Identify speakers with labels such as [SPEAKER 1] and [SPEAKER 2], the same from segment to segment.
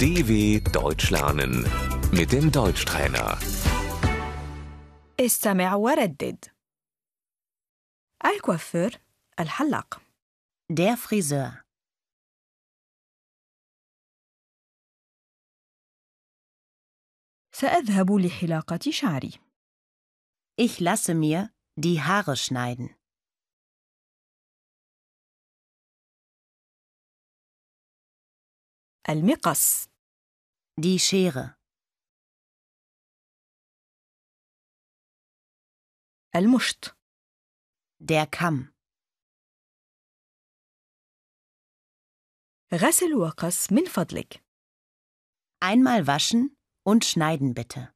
[SPEAKER 1] DW Deutsch lernen mit dem Deutschtrainer.
[SPEAKER 2] استمع وردد الكوافير الحلاق
[SPEAKER 3] Der Friseur.
[SPEAKER 2] سأذهب لحلاقة شعري
[SPEAKER 3] Ich lasse mir die Haare schneiden.
[SPEAKER 2] المقص
[SPEAKER 3] Die Schere.
[SPEAKER 2] المشط
[SPEAKER 3] Der Kamm.
[SPEAKER 2] غسل وقص من فضلك
[SPEAKER 3] Einmal waschen und schneiden bitte.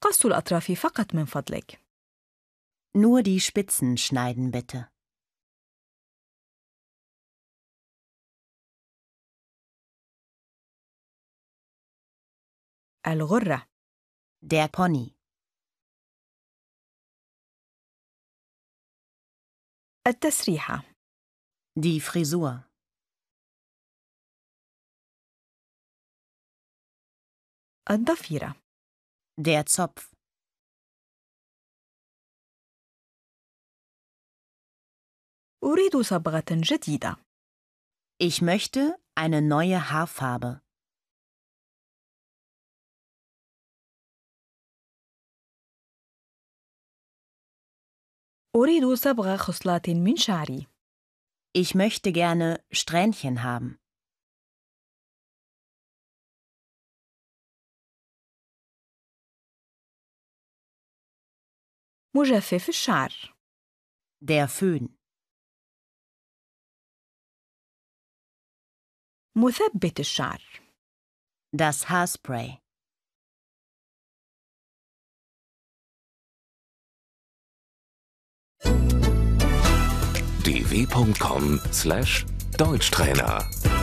[SPEAKER 2] قص الأطراف فقط من فضلك
[SPEAKER 3] Nur die Spitzen schneiden bitte.
[SPEAKER 2] الغرة
[SPEAKER 3] Der Pony.
[SPEAKER 2] التسريحة
[SPEAKER 3] Die Frisur.
[SPEAKER 2] الضفيرة
[SPEAKER 3] Der Zopf.
[SPEAKER 2] أريد صبغة جديدة
[SPEAKER 3] Ich möchte eine neue Haarfarbe.
[SPEAKER 2] أريد صبغة خصلات من شعري
[SPEAKER 3] Ich möchte gerne Strähnchen haben.
[SPEAKER 2] مجفف الشعر
[SPEAKER 3] Der Föhn.
[SPEAKER 2] مثبت الشعر
[SPEAKER 3] Das Haarspray.
[SPEAKER 1] dw.com/deutschtrainer